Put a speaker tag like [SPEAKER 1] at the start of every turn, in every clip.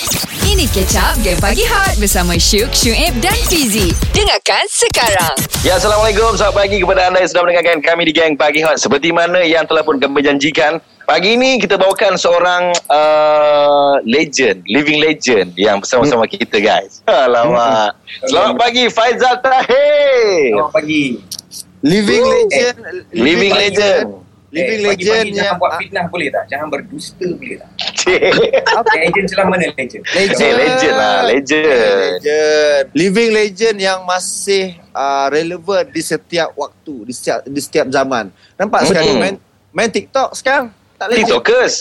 [SPEAKER 1] Street Catch Up Game Pagi Hot Bersama Syuk, Syuib dan Fizi Dengarkan sekarang
[SPEAKER 2] Ya, Assalamualaikum. Selamat pagi kepada anda yang sedang mendengarkan kami di Gang Pagi Hot. Seperti mana yang telah pun kami janjikan, pagi ini kita bawakan seorang uh, legend, living legend yang bersama-sama kita guys. Alamak. Selamat pagi Faizal Tahir.
[SPEAKER 3] Selamat pagi.
[SPEAKER 4] Living legend
[SPEAKER 2] Living legend.
[SPEAKER 4] Living
[SPEAKER 3] Eh, pagi-pagi
[SPEAKER 4] legend
[SPEAKER 3] jangan
[SPEAKER 4] yang
[SPEAKER 3] buat fitnah boleh tak? Jangan berdusta boleh tak?
[SPEAKER 2] eh,
[SPEAKER 3] Legend celah mana legend?
[SPEAKER 2] legend lah, legend.
[SPEAKER 4] legend living legend yang masih uh, relevan di setiap waktu di setiap di setiap zaman nampak
[SPEAKER 2] Mm-mm.
[SPEAKER 4] sekarang main main TikTok sekarang tak legend
[SPEAKER 2] TikTokers.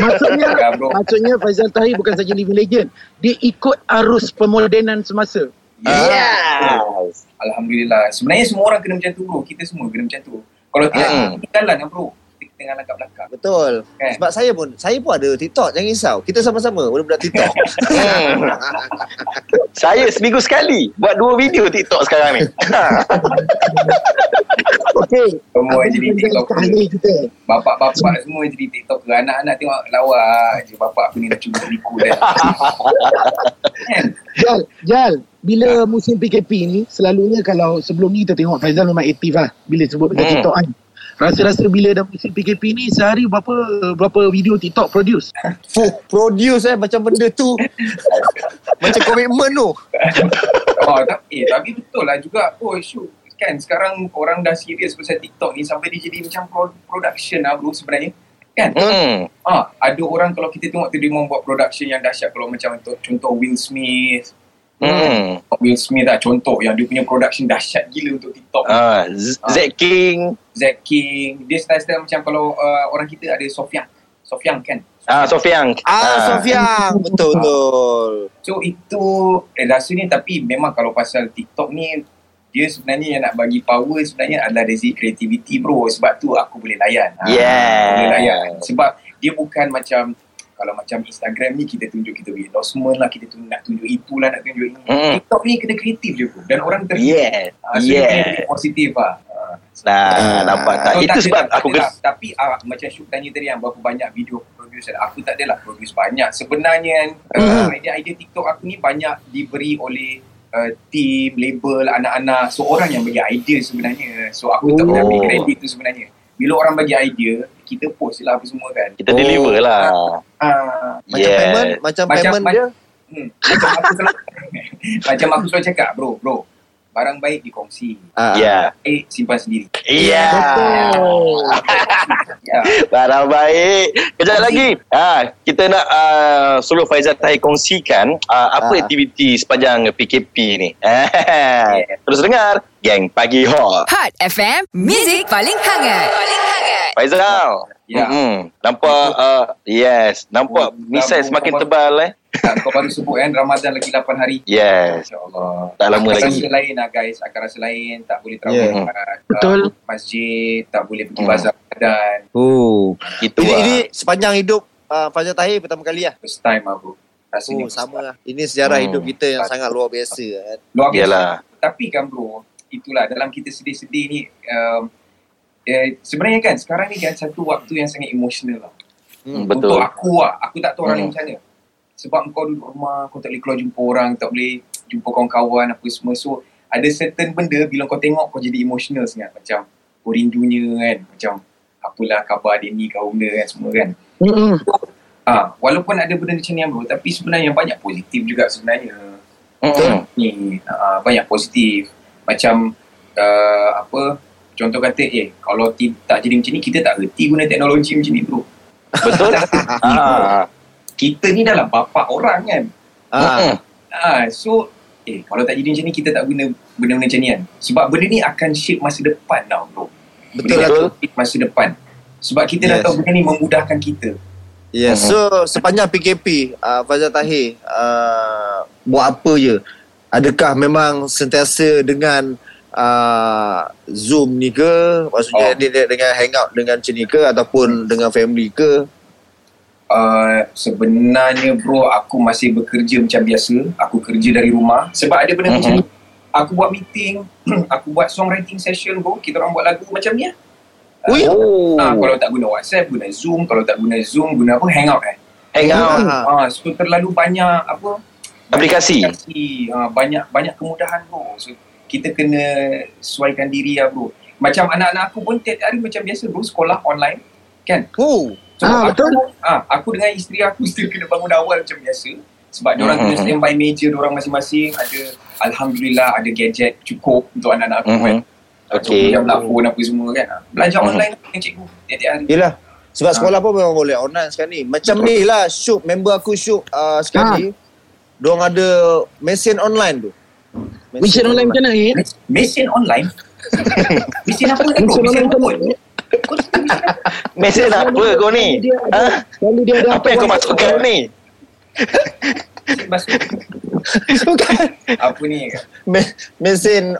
[SPEAKER 5] Maksudnya
[SPEAKER 3] Agak, bro.
[SPEAKER 5] Maksudnya Faizal Tahir bukan saja living legend Dia ikut arus pemodenan semasa
[SPEAKER 2] Ah.
[SPEAKER 4] Ah.
[SPEAKER 3] Yeah. Alhamdulillah. Sebenarnya semua orang kena macam tu bro. Kita semua kena macam tu. Kalau tidak,
[SPEAKER 2] Hmm.
[SPEAKER 3] kita jalan lah bro. Kita tengah langkah belakang.
[SPEAKER 4] betul
[SPEAKER 2] Eh.
[SPEAKER 3] Kan?
[SPEAKER 4] sebab saya pun saya pun ada TikTok jangan risau kita sama-sama budak-budak TikTok
[SPEAKER 2] Hmm. Saya seminggu sekali buat dua video TikTok sekarang ni.
[SPEAKER 5] Okay
[SPEAKER 3] Semua jadi TikTok.
[SPEAKER 5] kita
[SPEAKER 3] Bapak-bapak semua jadi TikTok. Anak-anak tengok lawak je. Bapak aku ni lucu beriku dan. kan?
[SPEAKER 5] Jal, Jal Bila
[SPEAKER 2] Ya.
[SPEAKER 5] musim PKP ni Selalunya kalau sebelum ni kita tengok Faizal memang aktif lah Bila sebut pasal
[SPEAKER 2] Hmm.
[SPEAKER 5] TikTok kan Rasa-rasa bila dah musim PKP ni Sehari berapa berapa video TikTok produce
[SPEAKER 4] Fuh, produce eh macam benda tu macam komitmen tu
[SPEAKER 3] Oh, tapi, eh, tapi betul lah juga. Oh, syuk. Kan sekarang orang dah serius pasal TikTok ni sampai dia jadi macam pro- production lah bro sebenarnya. Kan?
[SPEAKER 2] Hmm.
[SPEAKER 3] Ah, ada orang kalau kita tengok tu dia memang buat production yang dahsyat kalau macam untuk contoh Will Smith.
[SPEAKER 2] Hmm.
[SPEAKER 3] Will Smith lah contoh yang dia punya production dahsyat gila untuk TikTok. Uh.
[SPEAKER 2] Ah, Z- Zack King.
[SPEAKER 3] Zack King, dia style-style macam kalau uh, orang kita ada Sofyan. Sofyan kan.
[SPEAKER 2] Ah, Sofiang.
[SPEAKER 4] ah Sofian betul betul
[SPEAKER 3] So itu eh, rasa ni tapi memang kalau pasal TikTok ni dia sebenarnya yang nak bagi power sebenarnya adalah dari segi kreativiti bro sebab tu aku boleh layan. Ah,
[SPEAKER 2] Yeah.
[SPEAKER 3] Boleh layan sebab dia bukan macam kalau macam Instagram ni kita tunjuk kita beri endorsement lah kita tunjuk, nak tunjuk itu lah nak tunjuk ini.
[SPEAKER 2] Hmm.
[SPEAKER 3] TikTok ni kena kreatif je bro dan orang ter
[SPEAKER 2] Yeah.
[SPEAKER 3] Ah, so dia kena
[SPEAKER 2] Yeah.
[SPEAKER 3] jadi positif lah. Ah.
[SPEAKER 2] Nah,
[SPEAKER 4] Ah.
[SPEAKER 2] nampak tak?
[SPEAKER 3] So,
[SPEAKER 2] Itu
[SPEAKER 3] ada
[SPEAKER 2] sebab
[SPEAKER 3] lah,
[SPEAKER 2] aku
[SPEAKER 3] tak ada
[SPEAKER 2] kena
[SPEAKER 3] lah. tapi ah, macam Syuk tanya tadi yang berapa banyak video aku produce kan. aku tak adalah produce banyak sebenarnya kan
[SPEAKER 2] Mm-hmm.
[SPEAKER 3] uh, idea-idea TikTok aku ni banyak diberi oleh uh, team, label, anak-anak so orang yang bagi idea sebenarnya so aku tak pernah
[SPEAKER 2] Oh.
[SPEAKER 3] ambil kredit tu sebenarnya bila orang bagi idea kita post lah apa semua kan
[SPEAKER 2] kita deliver
[SPEAKER 4] Oh.
[SPEAKER 2] lah.
[SPEAKER 3] ah,
[SPEAKER 4] macam
[SPEAKER 2] Yeah.
[SPEAKER 4] payment macam,
[SPEAKER 3] macam
[SPEAKER 4] payment
[SPEAKER 3] ma-
[SPEAKER 4] dia
[SPEAKER 3] hmm, macam aku selalu macam aku selalu cakap bro bro barang baik dikongsi
[SPEAKER 4] ah,
[SPEAKER 2] Yeah.
[SPEAKER 3] eh simpan sendiri
[SPEAKER 2] Yeah.
[SPEAKER 3] ya
[SPEAKER 2] Barang baik. Kejap lagi. Ha, kita nak uh, suruh Faizal Tahir kongsikan uh, apa
[SPEAKER 4] Ah.
[SPEAKER 2] aktiviti sepanjang PKP ni. Terus dengar Gang Pagi Hot.
[SPEAKER 1] Hot FM Music paling hangat Paling hangat
[SPEAKER 2] Faizal.
[SPEAKER 3] Ya.
[SPEAKER 2] Mm-mm. Nampak uh, yes, nampak
[SPEAKER 3] Oh,
[SPEAKER 2] misai
[SPEAKER 3] rambut
[SPEAKER 2] semakin
[SPEAKER 3] kau-
[SPEAKER 2] tebal eh.
[SPEAKER 3] Tak, kau baru sebut kan Ramadan lagi 8 hari.
[SPEAKER 2] Yes.
[SPEAKER 3] InsyaAllah.
[SPEAKER 2] Ya Tak lama
[SPEAKER 3] akan
[SPEAKER 2] lagi.
[SPEAKER 3] Rasa lain lah guys. Akan rasa lain. Tak boleh terawih
[SPEAKER 4] Yeah.
[SPEAKER 3] yeah. kat
[SPEAKER 5] Betul.
[SPEAKER 3] Uh, masjid. Tak boleh pergi
[SPEAKER 2] Hmm.
[SPEAKER 3] bazar badan.
[SPEAKER 4] oh
[SPEAKER 2] Itu
[SPEAKER 4] Ini,
[SPEAKER 2] lah.
[SPEAKER 4] ini sepanjang hidup uh, Fajar Tahir pertama kali lah.
[SPEAKER 3] First time lah bro. Rasanya
[SPEAKER 4] Oh,
[SPEAKER 3] first
[SPEAKER 4] sama
[SPEAKER 3] time.
[SPEAKER 4] lah. Ini sejarah
[SPEAKER 2] Hmm.
[SPEAKER 4] hidup kita yang sangat luar biasa kan.
[SPEAKER 3] Luar biasa.
[SPEAKER 2] Yalah.
[SPEAKER 3] Tapi kan bro. Itulah dalam kita sedih-sedih ni. Um, eh, sebenarnya kan sekarang ni kan satu waktu yang sangat emosional lah.
[SPEAKER 2] Hmm,
[SPEAKER 3] Untuk
[SPEAKER 2] Betul.
[SPEAKER 3] aku lah. Aku tak tahu
[SPEAKER 2] Hmm.
[SPEAKER 3] orang lain macam mana. Sebab kau duduk rumah, kau tak boleh keluar jumpa orang, tak boleh jumpa kawan-kawan apa semua. So, ada certain benda bila kau tengok kau jadi emotional sangat. Macam, kau rindunya kan. Macam, apalah khabar dia ni, kau benda kan semua kan.
[SPEAKER 2] Hmm.
[SPEAKER 5] Mm-mm.
[SPEAKER 3] Ha, walaupun ada benda macam ni bro, tapi sebenarnya banyak positif juga sebenarnya
[SPEAKER 2] Mm-mm.
[SPEAKER 3] ni uh, banyak positif macam uh, apa contoh kata eh kalau ti- tak jadi macam ni kita tak reti guna teknologi macam ni bro
[SPEAKER 2] Betul. Ah.
[SPEAKER 3] kita ni dalam bapak orang kan
[SPEAKER 4] Ah,
[SPEAKER 2] Mm-mm.
[SPEAKER 3] ha, so eh kalau tak jadi macam ni kita tak guna benda-benda macam ni kan sebab benda ni akan shape masa depan tau bro
[SPEAKER 4] betul lah
[SPEAKER 2] Betul.
[SPEAKER 4] tu.
[SPEAKER 3] shape masa depan sebab kita yes. dah
[SPEAKER 4] Yes.
[SPEAKER 3] tahu benda ni memudahkan kita
[SPEAKER 4] Yeah. So, sepanjang PKP, uh, Fajar Tahir uh, buat apa je? Adakah memang sentiasa dengan uh, Zoom ni ke?
[SPEAKER 3] Oh.
[SPEAKER 4] Maksudnya dia, dia dengan hangout dengan macam ni ke? Ataupun dengan family ke?
[SPEAKER 3] Uh, sebenarnya bro aku masih bekerja macam biasa aku kerja dari rumah sebab ada benda mm-hmm. macam ni aku buat meeting aku buat songwriting session bro kita orang buat lagu macam ni Ah, lah
[SPEAKER 4] Ui, Oh.
[SPEAKER 3] oh. ha, kalau tak guna whatsapp guna zoom kalau tak guna zoom guna apa hangout eh
[SPEAKER 2] Hang out.
[SPEAKER 3] Ah,
[SPEAKER 4] Ah.
[SPEAKER 3] so terlalu banyak apa?
[SPEAKER 2] Aplikasi.
[SPEAKER 3] aplikasi ah, banyak banyak kemudahan bro. So kita kena sesuaikan diri lah bro. Macam anak-anak aku pun tiap hari macam biasa bro sekolah online kan.
[SPEAKER 4] Oh.
[SPEAKER 3] So aku,
[SPEAKER 5] Ah, betul.
[SPEAKER 3] Ah, aku dengan isteri aku still kena bangun awal macam biasa sebab diorang
[SPEAKER 2] Mhm.
[SPEAKER 3] mm-hmm. kena standby meja diorang masing-masing ada alhamdulillah ada gadget cukup untuk anak-anak aku kan.
[SPEAKER 2] Mhm. Okey.
[SPEAKER 3] So, jam lah phone apa semua kan. Ah, Belajar
[SPEAKER 2] Mhm.
[SPEAKER 3] online dengan cikgu tiap-tiap hari.
[SPEAKER 4] Yelah. Sebab
[SPEAKER 3] Ah.
[SPEAKER 4] sekolah pun memang boleh online sekarang ni. Macam ni lah Syuk, member aku Syuk uh, sekali. Diorang ada mesin online tu.
[SPEAKER 5] Mission online macam mana Ip?
[SPEAKER 3] Mesin online. mesin apa kan bro?
[SPEAKER 5] Mission
[SPEAKER 3] Mesin apa?
[SPEAKER 5] online macam
[SPEAKER 3] pun?
[SPEAKER 5] mana Ip?
[SPEAKER 2] Mesej lah, apa kau ni?
[SPEAKER 5] Dia ada-
[SPEAKER 2] Ha?
[SPEAKER 5] Lalu dia ada
[SPEAKER 2] Apa yang kau masukkan ni?
[SPEAKER 3] Mesin basuh.
[SPEAKER 4] Bukan.
[SPEAKER 3] Apa ni?
[SPEAKER 4] Me- mesin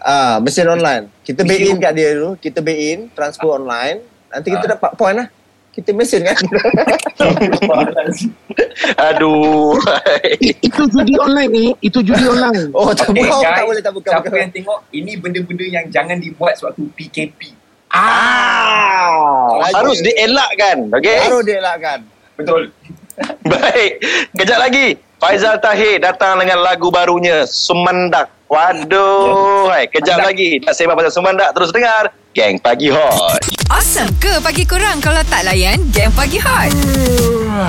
[SPEAKER 4] ah mesin online. Kita pay in kat dia dulu, kita pay in, transfer online, nanti kita
[SPEAKER 3] Ah.
[SPEAKER 4] dapat point lah. Kita mesin kan.
[SPEAKER 2] Aduh.
[SPEAKER 5] Itu judi online ni Itu judi online
[SPEAKER 4] oh, tak
[SPEAKER 3] Okay,
[SPEAKER 4] okay,
[SPEAKER 3] Eh, guys,
[SPEAKER 4] tak boleh tak buka.
[SPEAKER 3] siapa
[SPEAKER 4] buka.
[SPEAKER 3] yang tengok, ini benda-benda yang jangan dibuat sewaktu PKP.
[SPEAKER 2] ah, harus dielakkan. Okey.
[SPEAKER 4] Baru dia lah kan. elakkan.
[SPEAKER 3] Betul.
[SPEAKER 2] Baik. Kejap lagi. Faizal Tahir datang dengan lagu barunya Sumandak. Waduh. Hai, kejap lagi. Nak sembang pasal Sumandak terus dengar Gang Pagi Hot.
[SPEAKER 1] Awesome ke pagi korang kalau tak layan game pagi hot?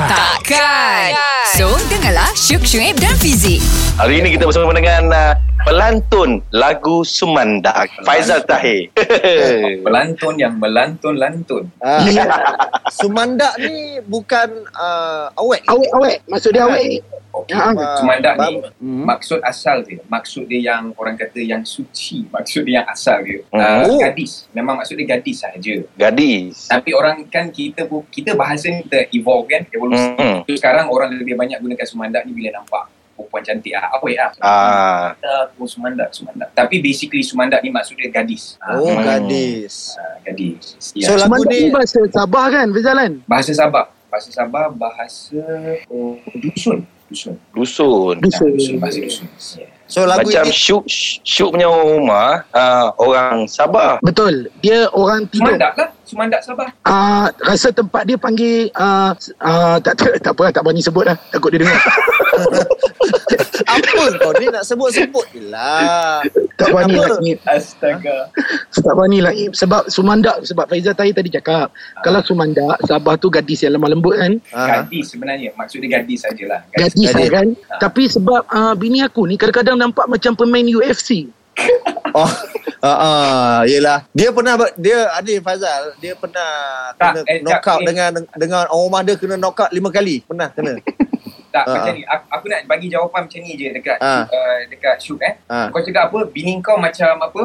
[SPEAKER 1] Takkan. So, dengarlah Syuk, Syuib dan Fizik.
[SPEAKER 2] Hari ini kita bersama dengan uh, pelantun lagu Sumandak Faizal Tahir.
[SPEAKER 3] Pelantun yang melantun-lantun.
[SPEAKER 4] Ah. Sumandak ni bukan uh, awet.
[SPEAKER 5] Awet-awet Maksud dia awet ni
[SPEAKER 3] Okey.
[SPEAKER 5] Ah,
[SPEAKER 4] Ah,
[SPEAKER 3] Sumandak ni
[SPEAKER 4] bab- Hmm.
[SPEAKER 3] maksud asal dia. Maksud dia yang orang kata yang suci. Maksud dia yang asal dia.
[SPEAKER 2] Hmm.
[SPEAKER 3] Ah,
[SPEAKER 4] Oh.
[SPEAKER 3] gadis. Memang maksud dia gadis saja.
[SPEAKER 2] Gadis.
[SPEAKER 3] Tapi orang kan kita pun- kita bahasa ni kita evolve kan, evolusi.
[SPEAKER 2] Hmm.
[SPEAKER 3] So, sekarang orang lebih banyak gunakan sumandak ni bila nampak perempuan cantik ah apa ya
[SPEAKER 2] Ah,
[SPEAKER 3] kita pun sumandak sumandak tapi basically sumandak ni maksud dia gadis Ah,
[SPEAKER 4] Oh,
[SPEAKER 2] Hmm.
[SPEAKER 4] gadis.
[SPEAKER 3] ah, gadis
[SPEAKER 4] So,
[SPEAKER 3] ya. so,
[SPEAKER 4] lagu
[SPEAKER 5] Semangat
[SPEAKER 4] ni-
[SPEAKER 5] ni bahasa Sabah kan Faizal kan
[SPEAKER 3] bahasa Sabah bahasa Sabah bahasa oh, dusun dusun
[SPEAKER 2] dusun.
[SPEAKER 3] Ah, dusun
[SPEAKER 5] Dusun
[SPEAKER 3] bahasa dusun yeah.
[SPEAKER 4] So lagu
[SPEAKER 2] Macam
[SPEAKER 4] ini
[SPEAKER 2] Syuk Syuk punya rumah uh, orang Sabah.
[SPEAKER 5] Betul Dia orang tidur
[SPEAKER 3] sumandak lah sumandak Sabah
[SPEAKER 5] Ah, rasa tempat dia panggil ah, ah, tak, tak, tak apa lah, tak berani sebut lah takut dia dengar
[SPEAKER 4] apa kau ni nak sebut-sebut je lah.
[SPEAKER 5] tak berani
[SPEAKER 4] Apa?
[SPEAKER 5] lah Ip.
[SPEAKER 3] astaga
[SPEAKER 5] tak berani lah Ip. sebab Sumandak sebab Faizal Tahir tadi cakap kalau Sumandak Sabah tu gadis yang lemah lembut kan
[SPEAKER 4] Ah.
[SPEAKER 3] gadis sebenarnya maksud dia gadis sajalah
[SPEAKER 5] gadis
[SPEAKER 4] Gadis.
[SPEAKER 5] lah kan
[SPEAKER 3] Ah.
[SPEAKER 5] tapi sebab ah, bini aku ni kadang-kadang nampak macam pemain UFC
[SPEAKER 4] Oh, ah, ah, yelah. Dia pernah ber- dia ada Fazal, dia pernah
[SPEAKER 3] Tak,
[SPEAKER 4] kena
[SPEAKER 3] eh, tak,
[SPEAKER 4] knock out
[SPEAKER 3] eh.
[SPEAKER 4] dengan dengan orang rumah dia kena knock out lima kali. Pernah kena.
[SPEAKER 3] tak
[SPEAKER 4] Ah,
[SPEAKER 3] macam
[SPEAKER 4] ah.
[SPEAKER 3] ni aku, aku nak bagi jawapan macam ni je dekat
[SPEAKER 4] Ah.
[SPEAKER 3] uh, dekat Syuk eh
[SPEAKER 4] Ah.
[SPEAKER 3] kau cakap apa bini kau macam apa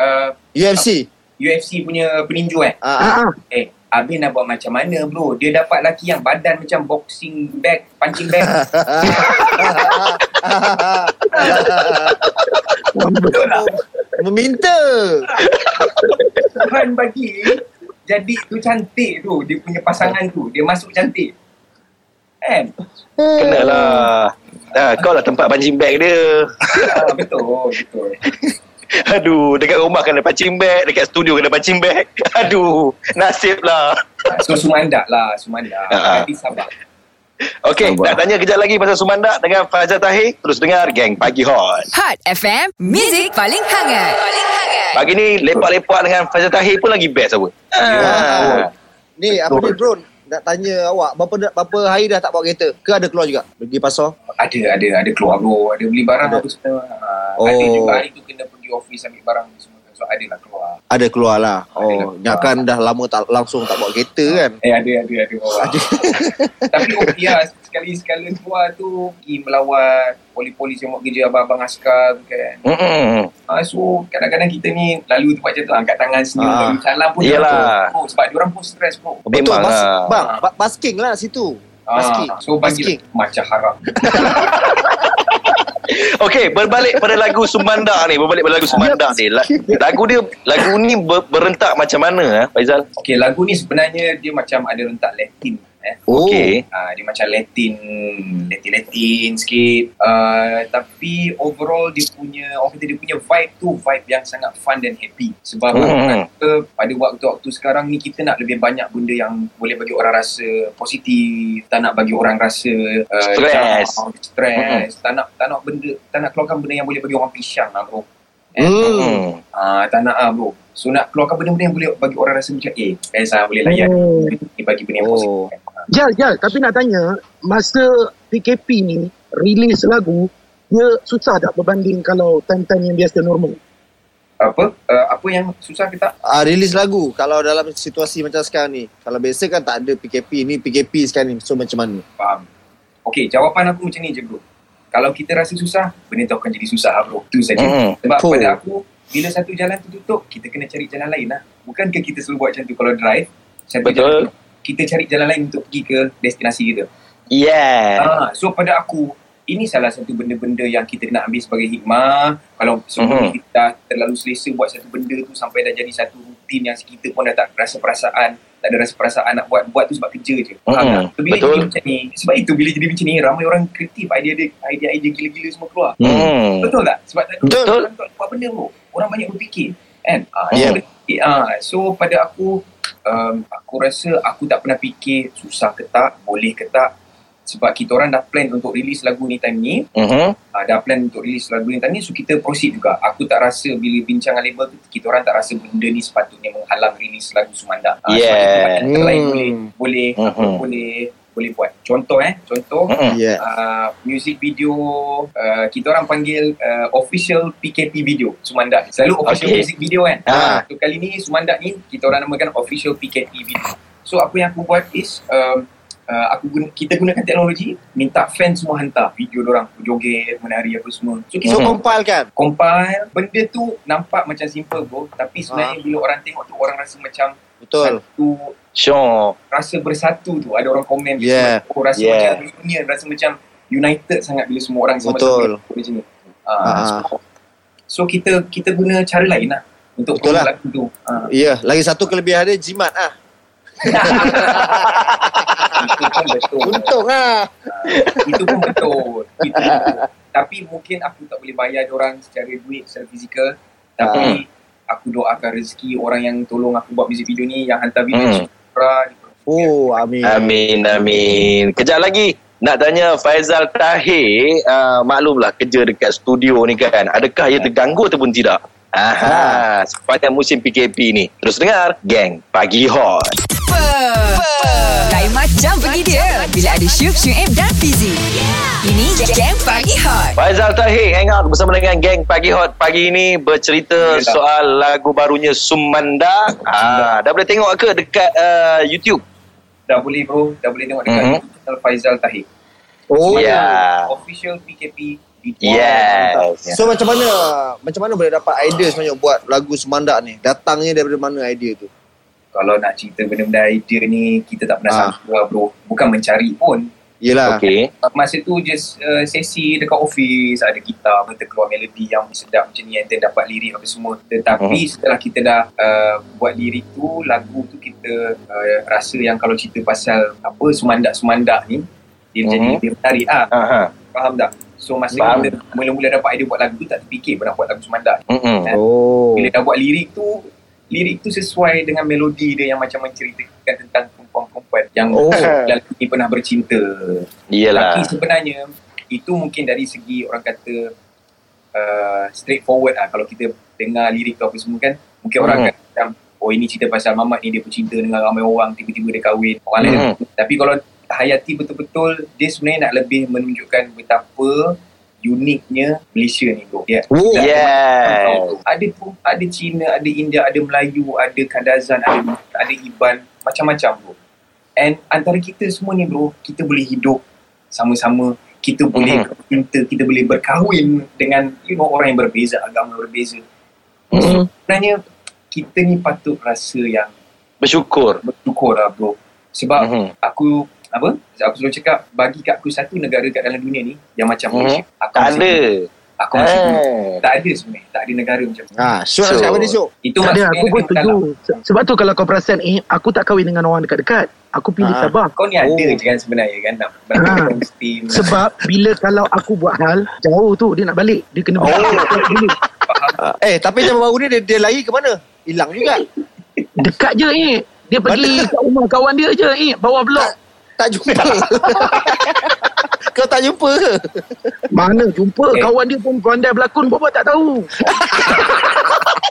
[SPEAKER 3] uh,
[SPEAKER 4] UFC.
[SPEAKER 3] UFC punya peninju eh
[SPEAKER 4] E Ah, ah.
[SPEAKER 5] ah, ah.
[SPEAKER 3] Eh, Abin nak buat macam mana bro? Dia dapat laki yang badan macam boxing bag, punching bag. Betul lah.
[SPEAKER 4] Meminta.
[SPEAKER 3] Tuhan bagi jadi tu cantik tu. Dia punya pasangan tu. Dia masuk cantik. Kan?
[SPEAKER 4] Hmm.
[SPEAKER 2] Kenalah. Ah, kau lah tempat pancing bag dia.
[SPEAKER 3] Ah, betul, betul.
[SPEAKER 2] Aduh, dekat rumah kena pancing bag, dekat studio kena pancing bag. Aduh, nasib lah.
[SPEAKER 3] Ah, So, Sumandak lah. Sumandak.
[SPEAKER 2] Ah.
[SPEAKER 3] Jadi sabar.
[SPEAKER 2] Okey, nak tanya kejap lagi pasal Sumandak dengan Faizal Tahir. Terus dengar Gang Pagi Hot.
[SPEAKER 1] Hot FM, Music paling hangat. Paling hangat.
[SPEAKER 2] Pagi ni lepak-lepak dengan Faizal Tahir pun lagi best apa. Ah.
[SPEAKER 4] Ni apa ni drone? Nak tanya awak berapa berapa hari dah tak bawa kereta? Ke ada keluar juga? Pergi pasar?
[SPEAKER 3] Ada, ada, ada keluar bro. Ada beli barang
[SPEAKER 4] Ada.
[SPEAKER 3] apa semua. Ah,
[SPEAKER 4] Oh.
[SPEAKER 3] Ada juga hari tu kena pergi office ambil barang apa semua. So, ada lah keluar.
[SPEAKER 4] Ada keluar lah.
[SPEAKER 3] Ada
[SPEAKER 4] Oh,
[SPEAKER 3] keluar.
[SPEAKER 4] nyakkan dah lama tak langsung tak bawa kereta kan.
[SPEAKER 3] Eh ada ada ada orang. Tapi okey lah sekali sekala keluar tu pergi melawan polis-polis yang buat kerja abang-abang askar tu kan.
[SPEAKER 2] Mm-mm.
[SPEAKER 3] Ah, so kadang-kadang kita ni lalu tempat macam tu angkat tangan senyum
[SPEAKER 4] Ah.
[SPEAKER 3] ah. salam pun
[SPEAKER 2] Yelah.
[SPEAKER 3] jatuh. Oh, sebab diorang pun stres bro.
[SPEAKER 4] Betul,
[SPEAKER 2] Memang
[SPEAKER 4] bas,
[SPEAKER 2] lah.
[SPEAKER 4] bang, ba- basking lah situ. Basking.
[SPEAKER 3] Ah, so bagi
[SPEAKER 4] Basking.
[SPEAKER 3] macam haram.
[SPEAKER 2] Okey, berbalik pada lagu Sumandak ni. Berbalik pada lagu Sumandak ni. La- Lagu dia, lagu ni ber- berentak macam mana, eh, Faizal?
[SPEAKER 3] Okey lagu ni sebenarnya dia macam ada rentak Latin. eh.
[SPEAKER 4] Oh.
[SPEAKER 2] Okey.
[SPEAKER 3] Uh, dia macam Latin, Latin-Latin sikit. Uh, tapi overall dia punya, orang kata dia punya vibe tu vibe yang sangat fun dan happy. Sebab
[SPEAKER 2] Hmm.
[SPEAKER 3] aku rasa pada waktu-waktu sekarang ni kita nak lebih banyak benda yang boleh bagi orang rasa positif, tak nak bagi orang rasa uh,
[SPEAKER 2] Stress. Hmm.
[SPEAKER 3] down, stress, tak nak tak nak benda tak nak keluarkan benda yang boleh bagi orang pisang lah bro. Eh,
[SPEAKER 4] Hmm.
[SPEAKER 2] Hmm.
[SPEAKER 3] Ah, tak nak ah bro. So nak keluarkan benda-benda yang boleh bagi orang rasa macam eh, best lah boleh layan.
[SPEAKER 2] Hmm.
[SPEAKER 5] Oh.
[SPEAKER 3] Ni bagi benda yang
[SPEAKER 4] Oh.
[SPEAKER 3] positif. Ah.
[SPEAKER 5] Jal, Jal, tapi nak tanya, masa PKP ni, release lagu, dia susah tak berbanding kalau time-time yang biasa normal?
[SPEAKER 3] Apa? Uh, apa yang susah ke tak?
[SPEAKER 4] Ah, release lagu kalau dalam situasi macam sekarang ni. Kalau biasa kan tak ada PKP, ni PKP sekarang ni. So macam mana?
[SPEAKER 3] Faham. Okey, jawapan aku macam ni je bro. Kalau kita rasa susah, benda tu akan jadi susah bro. Tu saja.
[SPEAKER 2] Hmm.
[SPEAKER 3] Sebab
[SPEAKER 4] Betul.
[SPEAKER 3] pada aku, bila satu jalan tu tutup, kita kena cari jalan lain lah. Bukankah kita selalu buat macam tu kalau drive? Satu
[SPEAKER 2] Betul.
[SPEAKER 3] Jalan, tu, kita cari jalan lain untuk pergi ke destinasi kita.
[SPEAKER 2] Yeah.
[SPEAKER 3] Ah, so pada aku ini salah satu benda-benda yang kita nak ambil sebagai hikmah. Kalau sebelum
[SPEAKER 2] Mhm.
[SPEAKER 3] ni kita dah terlalu selesa buat satu benda tu sampai dah jadi satu rutin yang kita pun dah tak rasa perasaan, tak ada rasa perasaan nak buat buat tu sebab kerja je. Faham
[SPEAKER 2] Mhm.
[SPEAKER 3] tak? So, bila
[SPEAKER 2] Betul.
[SPEAKER 3] jadi macam ni, sebab itu bila jadi macam ni ramai orang kreatif, idea-idea idea-idea gila-gila semua keluar.
[SPEAKER 2] Hmm.
[SPEAKER 3] Betul tak? Sebab tak
[SPEAKER 4] Betul.
[SPEAKER 3] orang tak buat benda bro. Orang banyak berfikir kan. Ah,
[SPEAKER 4] Ya.
[SPEAKER 3] so, eh, ah, so pada aku um, aku rasa aku tak pernah fikir susah ke tak, boleh ke tak sebab kita orang dah plan untuk release lagu ni time ni
[SPEAKER 2] Mhm.
[SPEAKER 3] uh, dah plan untuk release lagu ni tadi so kita proceed juga aku tak rasa bila bincang dengan label tu kita orang tak rasa benda ni sepatutnya menghalang release lagu Sumanda Ah, sebab
[SPEAKER 2] Yeah.
[SPEAKER 3] itu banyak benda lain
[SPEAKER 4] Hmm.
[SPEAKER 3] boleh boleh apa,
[SPEAKER 2] Mhm.
[SPEAKER 3] boleh boleh buat contoh eh contoh
[SPEAKER 2] Mhm.
[SPEAKER 4] Yeah.
[SPEAKER 3] uh, music video uh, kita orang panggil uh, official PKP video Sumanda selalu official
[SPEAKER 2] Okay.
[SPEAKER 3] music video kan
[SPEAKER 2] Ah.
[SPEAKER 3] so kali ni Sumanda ni kita orang namakan official PKP video so apa yang aku buat is um, uh, aku guna, kita gunakan teknologi minta fans semua hantar video orang joget menari apa semua so kita
[SPEAKER 4] So
[SPEAKER 2] Mhm.
[SPEAKER 4] compile kan?
[SPEAKER 3] compile benda tu nampak macam simple bro tapi sebenarnya bila orang tengok tu orang rasa macam
[SPEAKER 4] Betul.
[SPEAKER 3] satu
[SPEAKER 2] Sure.
[SPEAKER 3] rasa bersatu tu ada orang komen bila
[SPEAKER 4] Yeah.
[SPEAKER 3] semua- oh, rasa
[SPEAKER 2] Yeah.
[SPEAKER 3] macam union rasa macam united sangat bila semua orang
[SPEAKER 4] Betul.
[SPEAKER 3] sama-sama di sini
[SPEAKER 4] Ah.
[SPEAKER 3] uh, so, so kita kita guna cara lain lah untuk
[SPEAKER 4] Betul lah.
[SPEAKER 3] promote lagu tu uh,
[SPEAKER 4] Ya, yeah. lagi satu kelebihan dia jimat ah.
[SPEAKER 3] itu pun betul
[SPEAKER 4] Untung
[SPEAKER 3] Ah,
[SPEAKER 4] ah.
[SPEAKER 3] itu pun betul itu pun betul. tapi mungkin aku tak boleh bayar orang secara duit secara fizikal tapi
[SPEAKER 4] Ah.
[SPEAKER 3] aku doakan rezeki orang yang tolong aku buat music video ni yang hantar video
[SPEAKER 2] Hmm.
[SPEAKER 3] mm. Syukra
[SPEAKER 4] Oh, amin.
[SPEAKER 2] Amin, amin. Kejap lagi nak tanya Faizal Tahir, uh, maklumlah kerja dekat studio ni kan. Adakah ia terganggu ataupun tidak? Aha, sepanjang musim PKP ni. Terus dengar, geng pagi hot.
[SPEAKER 1] Apa? Lain macam pergi dia bila ada Syuk, Syuib dan Fizi. Ini Jam Pagi Hot.
[SPEAKER 2] Faizal Tahir hang out bersama dengan geng Pagi Hot pagi ini bercerita
[SPEAKER 3] Yelah.
[SPEAKER 2] soal lagu barunya Sumanda. Ah, dah boleh tengok ke dekat uh, YouTube?
[SPEAKER 3] dah boleh bro dah boleh tengok
[SPEAKER 2] Mhm.
[SPEAKER 3] dekat mm-hmm. Faizal Tahir
[SPEAKER 4] Oh.
[SPEAKER 2] Ya.
[SPEAKER 3] official PKP di Ya.
[SPEAKER 2] Yes.
[SPEAKER 4] So macam mana macam mana boleh dapat idea sebenarnya buat lagu Semandak ni? Datangnya daripada mana idea tu?
[SPEAKER 3] Kalau nak cerita benda-benda idea ni kita tak pernah
[SPEAKER 4] Ah.
[SPEAKER 3] ha. sangka lah bro. Bukan mencari pun.
[SPEAKER 4] Yelah.
[SPEAKER 2] Okey.
[SPEAKER 3] Masa tu just uh, sesi dekat office ada gitar kita keluar melodi yang sedap macam ni and then dapat lirik apa semua. Tetapi
[SPEAKER 2] Mhm.
[SPEAKER 3] setelah kita dah uh, buat lirik tu lagu tu kita uh, rasa yang kalau cerita pasal apa sumandak-sumandak ni dia
[SPEAKER 2] Mhm.
[SPEAKER 3] jadi lebih menarik ah.
[SPEAKER 2] Aha.
[SPEAKER 3] Faham tak? So masa
[SPEAKER 2] Faham.
[SPEAKER 3] kita mula-mula dapat idea buat lagu tu tak terfikir pun nak buat lagu sumandak.
[SPEAKER 2] Mm-mm.
[SPEAKER 4] Oh.
[SPEAKER 3] bila dah buat lirik tu lirik tu sesuai dengan melodi dia yang macam menceritakan tentang perempuan-perempuan yang
[SPEAKER 4] Oh.
[SPEAKER 3] oh. lelaki pernah bercinta tapi
[SPEAKER 2] Iyalah.
[SPEAKER 3] sebenarnya itu mungkin dari segi orang kata uh, straightforward lah kalau kita dengar lirik tu apa semua kan mungkin orang
[SPEAKER 2] Hmm.
[SPEAKER 3] akan macam oh ini cerita pasal mamat ni dia bercinta dengan ramai orang tiba-tiba dia kahwin orang lain
[SPEAKER 2] Hmm.
[SPEAKER 3] tapi kalau Hayati betul-betul dia sebenarnya nak lebih menunjukkan betapa uniknya Malaysia ni bro ya
[SPEAKER 4] Oh.
[SPEAKER 3] Dah-
[SPEAKER 2] Yes.
[SPEAKER 3] ada pun ada Cina, ada India, ada Melayu, ada Kadazan, ada ada Iban, macam-macam bro. And antara kita semua ni bro, kita boleh hidup sama-sama, kita
[SPEAKER 2] Mhm.
[SPEAKER 3] boleh bercinta, kita boleh berkahwin dengan you know orang yang berbeza, agama berbeza.
[SPEAKER 2] Mm.
[SPEAKER 3] Sebenarnya kita ni patut rasa yang
[SPEAKER 2] Bersyukur.
[SPEAKER 3] bersyukur lah bro. Sebab
[SPEAKER 2] Mhm.
[SPEAKER 3] aku apa? Aku selalu cakap bagi kat aku satu negara kat dalam dunia ni yang macam
[SPEAKER 2] Mhm.
[SPEAKER 3] Malaysia. Aku
[SPEAKER 2] Tak
[SPEAKER 3] masih-
[SPEAKER 2] ada.
[SPEAKER 3] Aku masih
[SPEAKER 2] Eh. Ah,
[SPEAKER 3] belum. Tak ada sebenarnya. Tak ada negara macam tu.
[SPEAKER 4] Ha, Syuk
[SPEAKER 2] So-
[SPEAKER 4] nak cakap apa ni Syuk?
[SPEAKER 3] Itu
[SPEAKER 5] Tak ada,
[SPEAKER 3] maksudnya
[SPEAKER 5] aku pun
[SPEAKER 3] dia mentalak.
[SPEAKER 5] setuju. Se- Sebab tu kalau kau perasan, eh, aku tak kahwin dengan orang dekat-dekat. Aku pilih
[SPEAKER 4] Ah.
[SPEAKER 5] Sabah.
[SPEAKER 3] Kau ni ada
[SPEAKER 4] Oh.
[SPEAKER 3] je kan sebenarnya kan nak
[SPEAKER 5] Ah.
[SPEAKER 3] berhubung steam.
[SPEAKER 5] Sebab bila kalau aku buat hal, jauh tu dia nak balik. Dia kena balik. Oh.
[SPEAKER 4] Ah, Eh, tapi zaman baru ni dia, dia lari ke mana? Hilang juga.
[SPEAKER 5] Dekat je, eh. Dia pergi
[SPEAKER 4] Mana?
[SPEAKER 5] kat rumah kawan dia je, eh. Bawah blok.
[SPEAKER 4] Tak jumpa. Kau tak jumpa ke?
[SPEAKER 5] Mana jumpa
[SPEAKER 3] Eh.
[SPEAKER 5] kawan dia pun pandai berlakon buat tak tahu.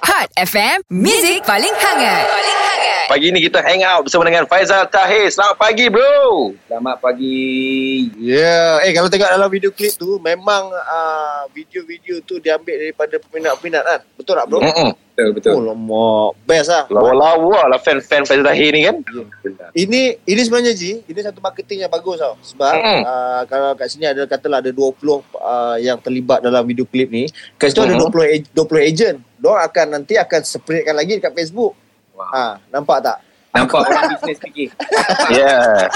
[SPEAKER 1] Hot FM, Music paling hangat. Paling hangat.
[SPEAKER 2] Pagi ni kita hang out bersama dengan Faizal Tahir. Selamat pagi bro.
[SPEAKER 3] Selamat pagi.
[SPEAKER 4] Ya, yeah. eh kalau tengok dalam video klip tu memang uh, video-video tu diambil daripada peminat-peminat kan. Betul tak bro?
[SPEAKER 2] Mm-mm.
[SPEAKER 3] Betul betul.
[SPEAKER 4] Oh lemak, best lah.
[SPEAKER 2] Lawa-lawa lah fan-fan Faizal Tahir ni kan.
[SPEAKER 4] Ini ini sebenarnya Ji, ini satu marketing yang bagus tau. Sebab
[SPEAKER 3] Hmm.
[SPEAKER 2] Mm.
[SPEAKER 4] uh, kalau kat sini ada katalah ada 20 uh, yang terlibat dalam video klip ni. Kat situ ada
[SPEAKER 3] Hmm.
[SPEAKER 2] Mm.
[SPEAKER 4] 20 ag- 20 agent. Diorang akan nanti akan spreadkan lagi dekat Facebook.
[SPEAKER 3] Wow.
[SPEAKER 4] Ha, nampak tak?
[SPEAKER 3] Nampak orang bisnes fikir. Ah.
[SPEAKER 2] Yeah.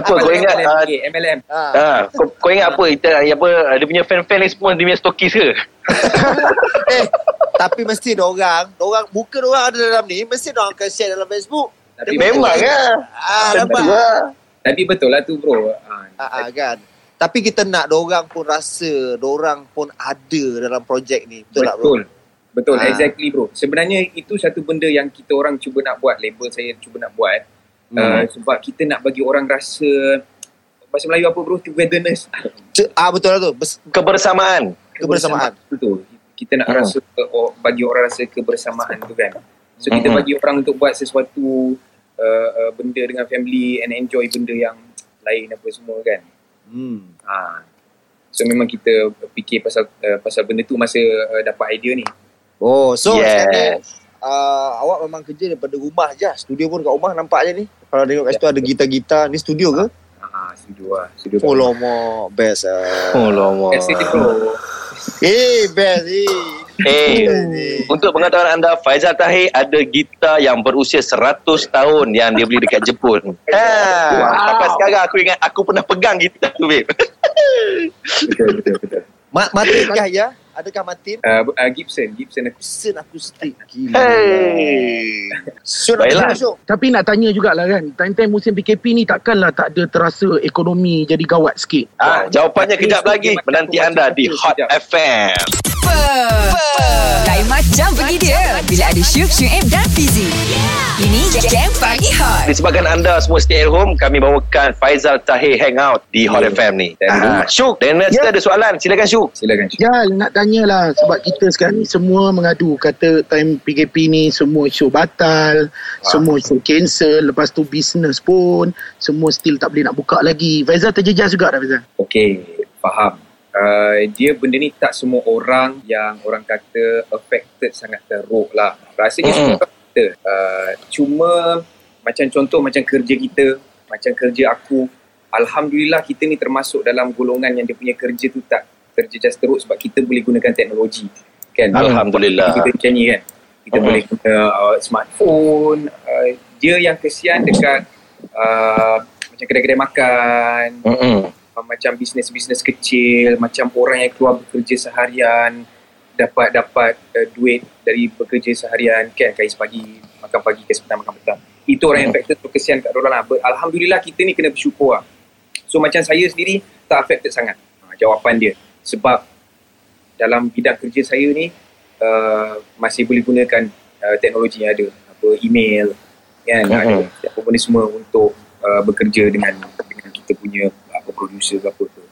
[SPEAKER 2] Ya. Kenapa? Kau
[SPEAKER 3] MLM
[SPEAKER 2] ingat, ah,
[SPEAKER 3] fikir, MLM.
[SPEAKER 4] Ha.
[SPEAKER 2] Ha, kau, kau ingat apa? Kita, eh, apa dia punya fan-fan ni semua dia punya stokis ke?
[SPEAKER 4] eh, tapi mesti diorang, diorang muka diorang ada dalam ni, mesti diorang akan share dalam Facebook.
[SPEAKER 3] Tapi
[SPEAKER 2] Memang lah.
[SPEAKER 4] Ah,
[SPEAKER 3] Betul,
[SPEAKER 4] nampak.
[SPEAKER 3] betul. Tapi betul lah tu bro. Ah,
[SPEAKER 4] Ah, ah, kan. Tapi kita nak dorang pun rasa, dorang pun ada dalam projek ni. Betul, tak bro?
[SPEAKER 3] Betul. Betul,
[SPEAKER 4] Ah.
[SPEAKER 3] exactly bro. Sebenarnya itu satu benda yang kita orang cuba nak buat, label saya cuba nak buat. Hmm. Uh, sebab kita nak bagi orang rasa bahasa Melayu apa bro? Togetherness.
[SPEAKER 4] Ce- ah betul lah tu. Bes-
[SPEAKER 2] Kebersamaan.
[SPEAKER 4] Kebersamaan.
[SPEAKER 3] Betul. Kita nak
[SPEAKER 2] Hmm.
[SPEAKER 3] hmm. rasa oh, bagi orang rasa kebersamaan tu kan. So kita
[SPEAKER 2] Hmm.
[SPEAKER 3] bagi orang untuk buat sesuatu uh, uh, benda dengan family and enjoy benda yang lain apa semua kan.
[SPEAKER 4] Hmm.
[SPEAKER 3] Ha. So memang kita fikir pasal uh, pasal benda tu masa uh, dapat idea ni.
[SPEAKER 4] Oh,
[SPEAKER 2] Yes.
[SPEAKER 4] so yes. sekarang ni uh, awak memang kerja daripada rumah je. lah. Studio pun kat rumah nampak je ni. Kalau tengok kat situ ada gitar-gitar. Ni studio ke?
[SPEAKER 3] Ha, setuju lah. Setuju.
[SPEAKER 4] Oh, lama. Best lah.
[SPEAKER 2] Oh, lama.
[SPEAKER 3] Kasi dia bro.
[SPEAKER 4] Eh, best. Eh.
[SPEAKER 2] Eh,
[SPEAKER 4] Best, eh.
[SPEAKER 2] Untuk pengetahuan anda, Faizal Tahir ada gitar yang berusia 100 tahun yang dia beli dekat Jepun. Ha, wow. Sampai sekarang aku ingat aku pernah pegang gitar tu, babe.
[SPEAKER 3] Betul, betul, betul.
[SPEAKER 4] Ma- Martin kah ya? Adakah Martin?
[SPEAKER 3] Uh, uh, Gibson, Gibson aku.
[SPEAKER 4] Sen aku stick. Gila.
[SPEAKER 2] Hey.
[SPEAKER 4] Syuk nak
[SPEAKER 2] Baiklah.
[SPEAKER 4] tengok, Syuk.
[SPEAKER 5] Tapi nak tanya jugalah kan, time-time musim PKP ni takkanlah tak ada terasa ekonomi jadi gawat sikit.
[SPEAKER 2] Ha, jawapannya kejap lagi menanti anda di Hot FM.
[SPEAKER 1] Apa? Lain macam pergi dia bila ada Syuk, Syuib dan Fizi. Ini Jam Pagi Hot.
[SPEAKER 2] Disebabkan anda semua stay at home, kami bawakan Faizal Tahir Hangout di Hot FM ni. Ha, Syuk, Daniel yeah. ada soalan. Silakan Syuk.
[SPEAKER 3] Silakan. Syuk.
[SPEAKER 5] Jal nak tanyalah sebab kita sekarang ni semua mengadu kata time PKP ni semua show batal,
[SPEAKER 4] Ah.
[SPEAKER 5] semua show cancel, lepas tu bisnes pun semua still tak boleh nak buka lagi. Faizal terjejas juga dah Faizal.
[SPEAKER 3] Okay, faham. Uh, dia benda ni tak semua orang yang orang kata affected sangat teruk lah. Rasanya
[SPEAKER 2] Mm-mm.
[SPEAKER 3] mm-hmm. semua kita. Uh, cuma macam contoh macam kerja kita, macam kerja aku. Alhamdulillah kita ni termasuk dalam golongan yang dia punya kerja tu tak terjejas teruk sebab kita boleh gunakan teknologi. Kan?
[SPEAKER 2] Alhamdulillah.
[SPEAKER 3] kita macam ni kan kita
[SPEAKER 2] Mm-mm.
[SPEAKER 3] boleh guna uh, smartphone uh, dia yang kesian dekat uh, macam kedai-kedai makan
[SPEAKER 2] Mm-mm.
[SPEAKER 3] uh, macam bisnes-bisnes kecil macam orang yang keluar bekerja seharian dapat dapat uh, duit dari bekerja seharian kan kais pagi makan pagi kais petang makan petang itu orang yang affected tu kesian kat orang lah But, Alhamdulillah kita ni kena bersyukur lah so macam saya sendiri tak affected sangat ha, jawapan dia sebab dalam bidang kerja saya ni uh, masih boleh gunakan uh, teknologi yang ada apa email kan
[SPEAKER 2] Mhm.
[SPEAKER 3] mm-hmm. ada apa benda semua untuk uh, bekerja dengan dengan kita punya apa producer ke apa tu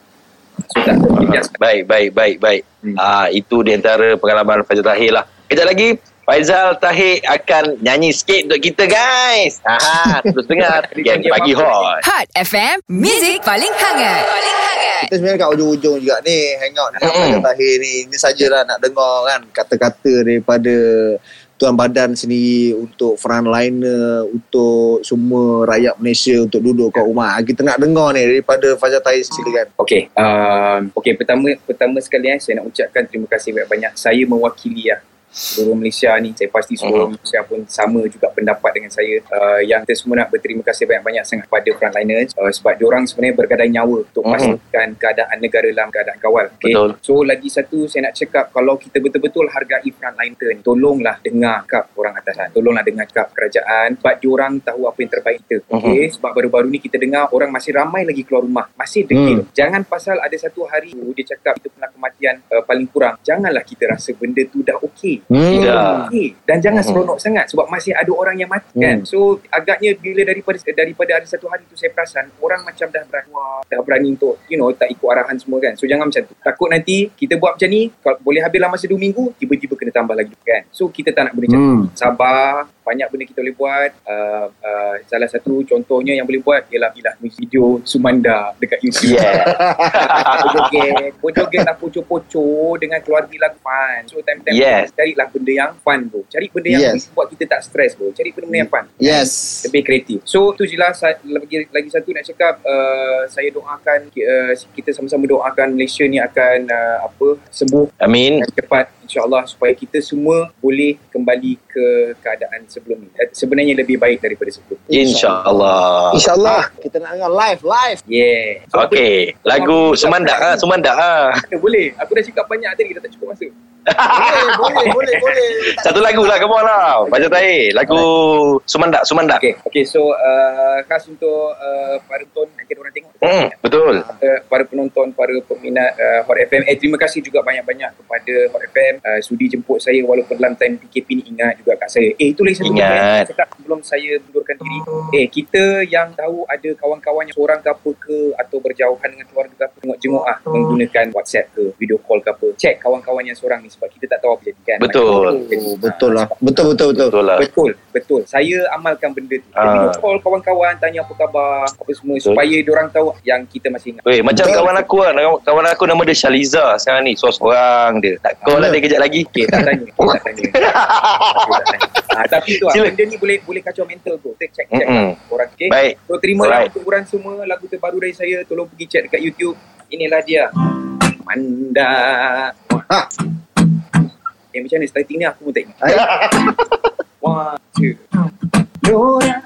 [SPEAKER 3] so tak terjejas
[SPEAKER 2] Baik, baik, baik, baik.
[SPEAKER 3] Hmm.
[SPEAKER 2] Ah, itu di antara pengalaman Faizal Tahir lah. Kejap lagi, Faizal Tahir akan nyanyi sikit untuk kita guys. Aha, terus dengar. Gang Pagi Hot.
[SPEAKER 1] Hot FM, Music paling hangat. Paling hangat.
[SPEAKER 4] Kita sebenarnya kat ujung-ujung juga ni hangout dengan
[SPEAKER 2] Mm-mm.
[SPEAKER 4] mm. Tahir ni. Ini sajalah nak dengar kan kata-kata daripada tuan badan sendiri untuk frontliner, untuk semua rakyat Malaysia untuk duduk kat rumah. Ah, Kita nak dengar ni daripada Fajar Tahir kan. silakan.
[SPEAKER 3] Okey, um, okey pertama pertama sekali eh saya nak ucapkan terima kasih banyak-banyak. Saya mewakili ya seluruh Malaysia ni saya pasti seluruh
[SPEAKER 2] Mhm.
[SPEAKER 3] Malaysia pun sama juga pendapat dengan saya uh, yang kita semua nak berterima kasih banyak-banyak sangat kepada frontliners uh, sebab diorang sebenarnya bergadai nyawa untuk
[SPEAKER 2] Mhm.
[SPEAKER 3] pastikan keadaan negara dalam keadaan kawal okay?
[SPEAKER 2] Betul.
[SPEAKER 3] so lagi satu saya nak cakap kalau kita betul-betul hargai frontliner ni tolonglah dengar kap orang atasan tolonglah dengar kap kerajaan sebab diorang tahu apa yang terbaik kita okay? sebab baru-baru ni kita dengar orang masih ramai lagi keluar rumah masih degil jangan pasal ada satu hari tu dia cakap itu pernah kematian uh, paling kurang janganlah kita rasa benda tu dah okey
[SPEAKER 6] Hmm.
[SPEAKER 3] Kita
[SPEAKER 2] Ya.
[SPEAKER 3] okey dan jangan
[SPEAKER 2] Hmm.
[SPEAKER 3] seronok sangat sebab masih ada orang yang mati
[SPEAKER 6] Hmm.
[SPEAKER 3] kan so agaknya bila daripada daripada ada satu hari tu saya perasan orang macam dah berani wah, dah berani untuk you know tak ikut arahan semua kan so jangan macam tu takut nanti kita buat macam ni kalau boleh habis dalam masa 2 minggu tiba-tiba kena tambah lagi kan so kita tak nak benda macam
[SPEAKER 6] Hmm.
[SPEAKER 3] sabar banyak benda kita boleh buat uh, uh, salah satu contohnya yang boleh buat ialah ialah video Sumanda dekat YouTube
[SPEAKER 2] Yeah.
[SPEAKER 3] Pojoget Pojoget lah poco-poco Dengan keluarga lagu fun So time-time
[SPEAKER 2] Yes.
[SPEAKER 3] Carilah benda yang fun bro Cari benda yang
[SPEAKER 4] Yes.
[SPEAKER 3] buat kita tak stress bro Cari benda yang fun
[SPEAKER 4] Yes.
[SPEAKER 3] lebih kreatif. So tu je lah sa- lagi, lagi satu nak cakap uh, saya doakan uh, kita sama-sama doakan Malaysia ni akan uh, apa sembuh
[SPEAKER 2] Amin.
[SPEAKER 3] dengan cepat insyaallah supaya kita semua boleh kembali ke keadaan sebelum ni. Eh, Sebenarnya lebih baik daripada sebelum.
[SPEAKER 2] InsyaAllah.
[SPEAKER 5] InsyaAllah.
[SPEAKER 4] Ah, Kita nak dengar live, live.
[SPEAKER 3] Yeah. So,
[SPEAKER 2] Okey. Lagu Semandak ah, Semandak ah.
[SPEAKER 3] Boleh, boleh. Aku dah cakap banyak tadi dah tak cukup masa.
[SPEAKER 4] Boleh, boleh, boleh, boleh.
[SPEAKER 2] Satu lagu lah, come on lah. Baca tahi. Lagu Sumandak, Sumandak.
[SPEAKER 3] Okay, okay so uh, khas untuk uh, para penonton nanti orang tengok.
[SPEAKER 2] Hmm, betul.
[SPEAKER 3] Uh, para penonton, para peminat uh, Hot FM. Eh, terima kasih juga banyak-banyak kepada Hot FM. Uh, sudi jemput saya walaupun dalam time PKP ni ingat juga kat saya. Eh, itu lagi satu
[SPEAKER 2] Ingat. Hmm.
[SPEAKER 3] benda yang saya cakap sebelum saya mundurkan diri. Eh, kita yang tahu ada kawan-kawan yang seorang ke apa ke atau berjauhan dengan keluarga ke apa, tengok jenguk ah
[SPEAKER 2] Hmm.
[SPEAKER 3] menggunakan WhatsApp ke video call ke apa. Check kawan-kawan yang seorang ni sebab kita tak tahu apa jadi kan.
[SPEAKER 2] Betul.
[SPEAKER 4] Oh, betul lah. Betul, betul, betul.
[SPEAKER 2] Betul lah.
[SPEAKER 3] Betul, betul. Saya amalkan benda tu. Saya
[SPEAKER 2] Ah.
[SPEAKER 3] video call kawan-kawan, tanya apa khabar, apa semua
[SPEAKER 2] Betul.
[SPEAKER 3] supaya diorang tahu yang kita masih ingat.
[SPEAKER 2] Weh, macam
[SPEAKER 4] Betul.
[SPEAKER 2] kawan aku kan. Kawan aku nama dia Shaliza sekarang ni. Seorang-seorang dia. Tak call lah dia kejap lagi.
[SPEAKER 3] Okay, tak tanya. Okay, tak tanya. Okey, tak tanya. Ah, tapi tu lah,
[SPEAKER 2] Sila.
[SPEAKER 3] benda ni boleh boleh kacau mental tu. Kita check, check
[SPEAKER 2] Mm-mm.
[SPEAKER 3] orang. Okay?
[SPEAKER 2] Baik.
[SPEAKER 3] So, terima lah
[SPEAKER 2] Alright.
[SPEAKER 3] untuk korang semua. Lagu terbaru dari saya. Tolong pergi check dekat YouTube. Inilah dia. Manda.
[SPEAKER 4] Ha.
[SPEAKER 3] Eh, macam mana starting ni aku pun tak ingat. One, two. Nora,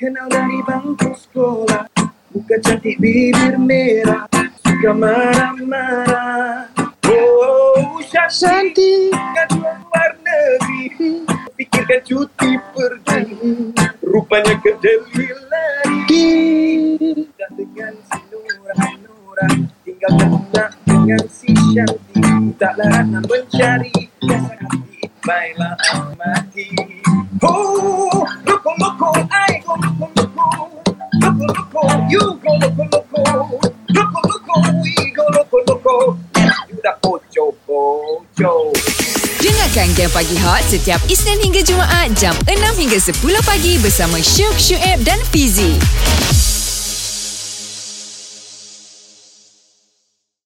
[SPEAKER 3] kenal dari bangku sekolah Muka cantik bibir merah Suka marah-marah Oh, Shanti Kan luar negeri Fikirkan cuti pergi Rupanya ke Delhi lari Dah dengan si Nora Nora Tinggal tenang dengan si Shanti Tak larang mencari Biasa hati Baiklah amati Oh, loko loko I go loko loko Loco, loco, you go loco, loco. Loco, loco, we go loco, loco. Yes, you the pocho, pocho.
[SPEAKER 1] Dengarkan Game Pagi Hot setiap Isnin hingga Jumaat jam 6 hingga 10 pagi bersama Syuk, Syuib dan Fizi.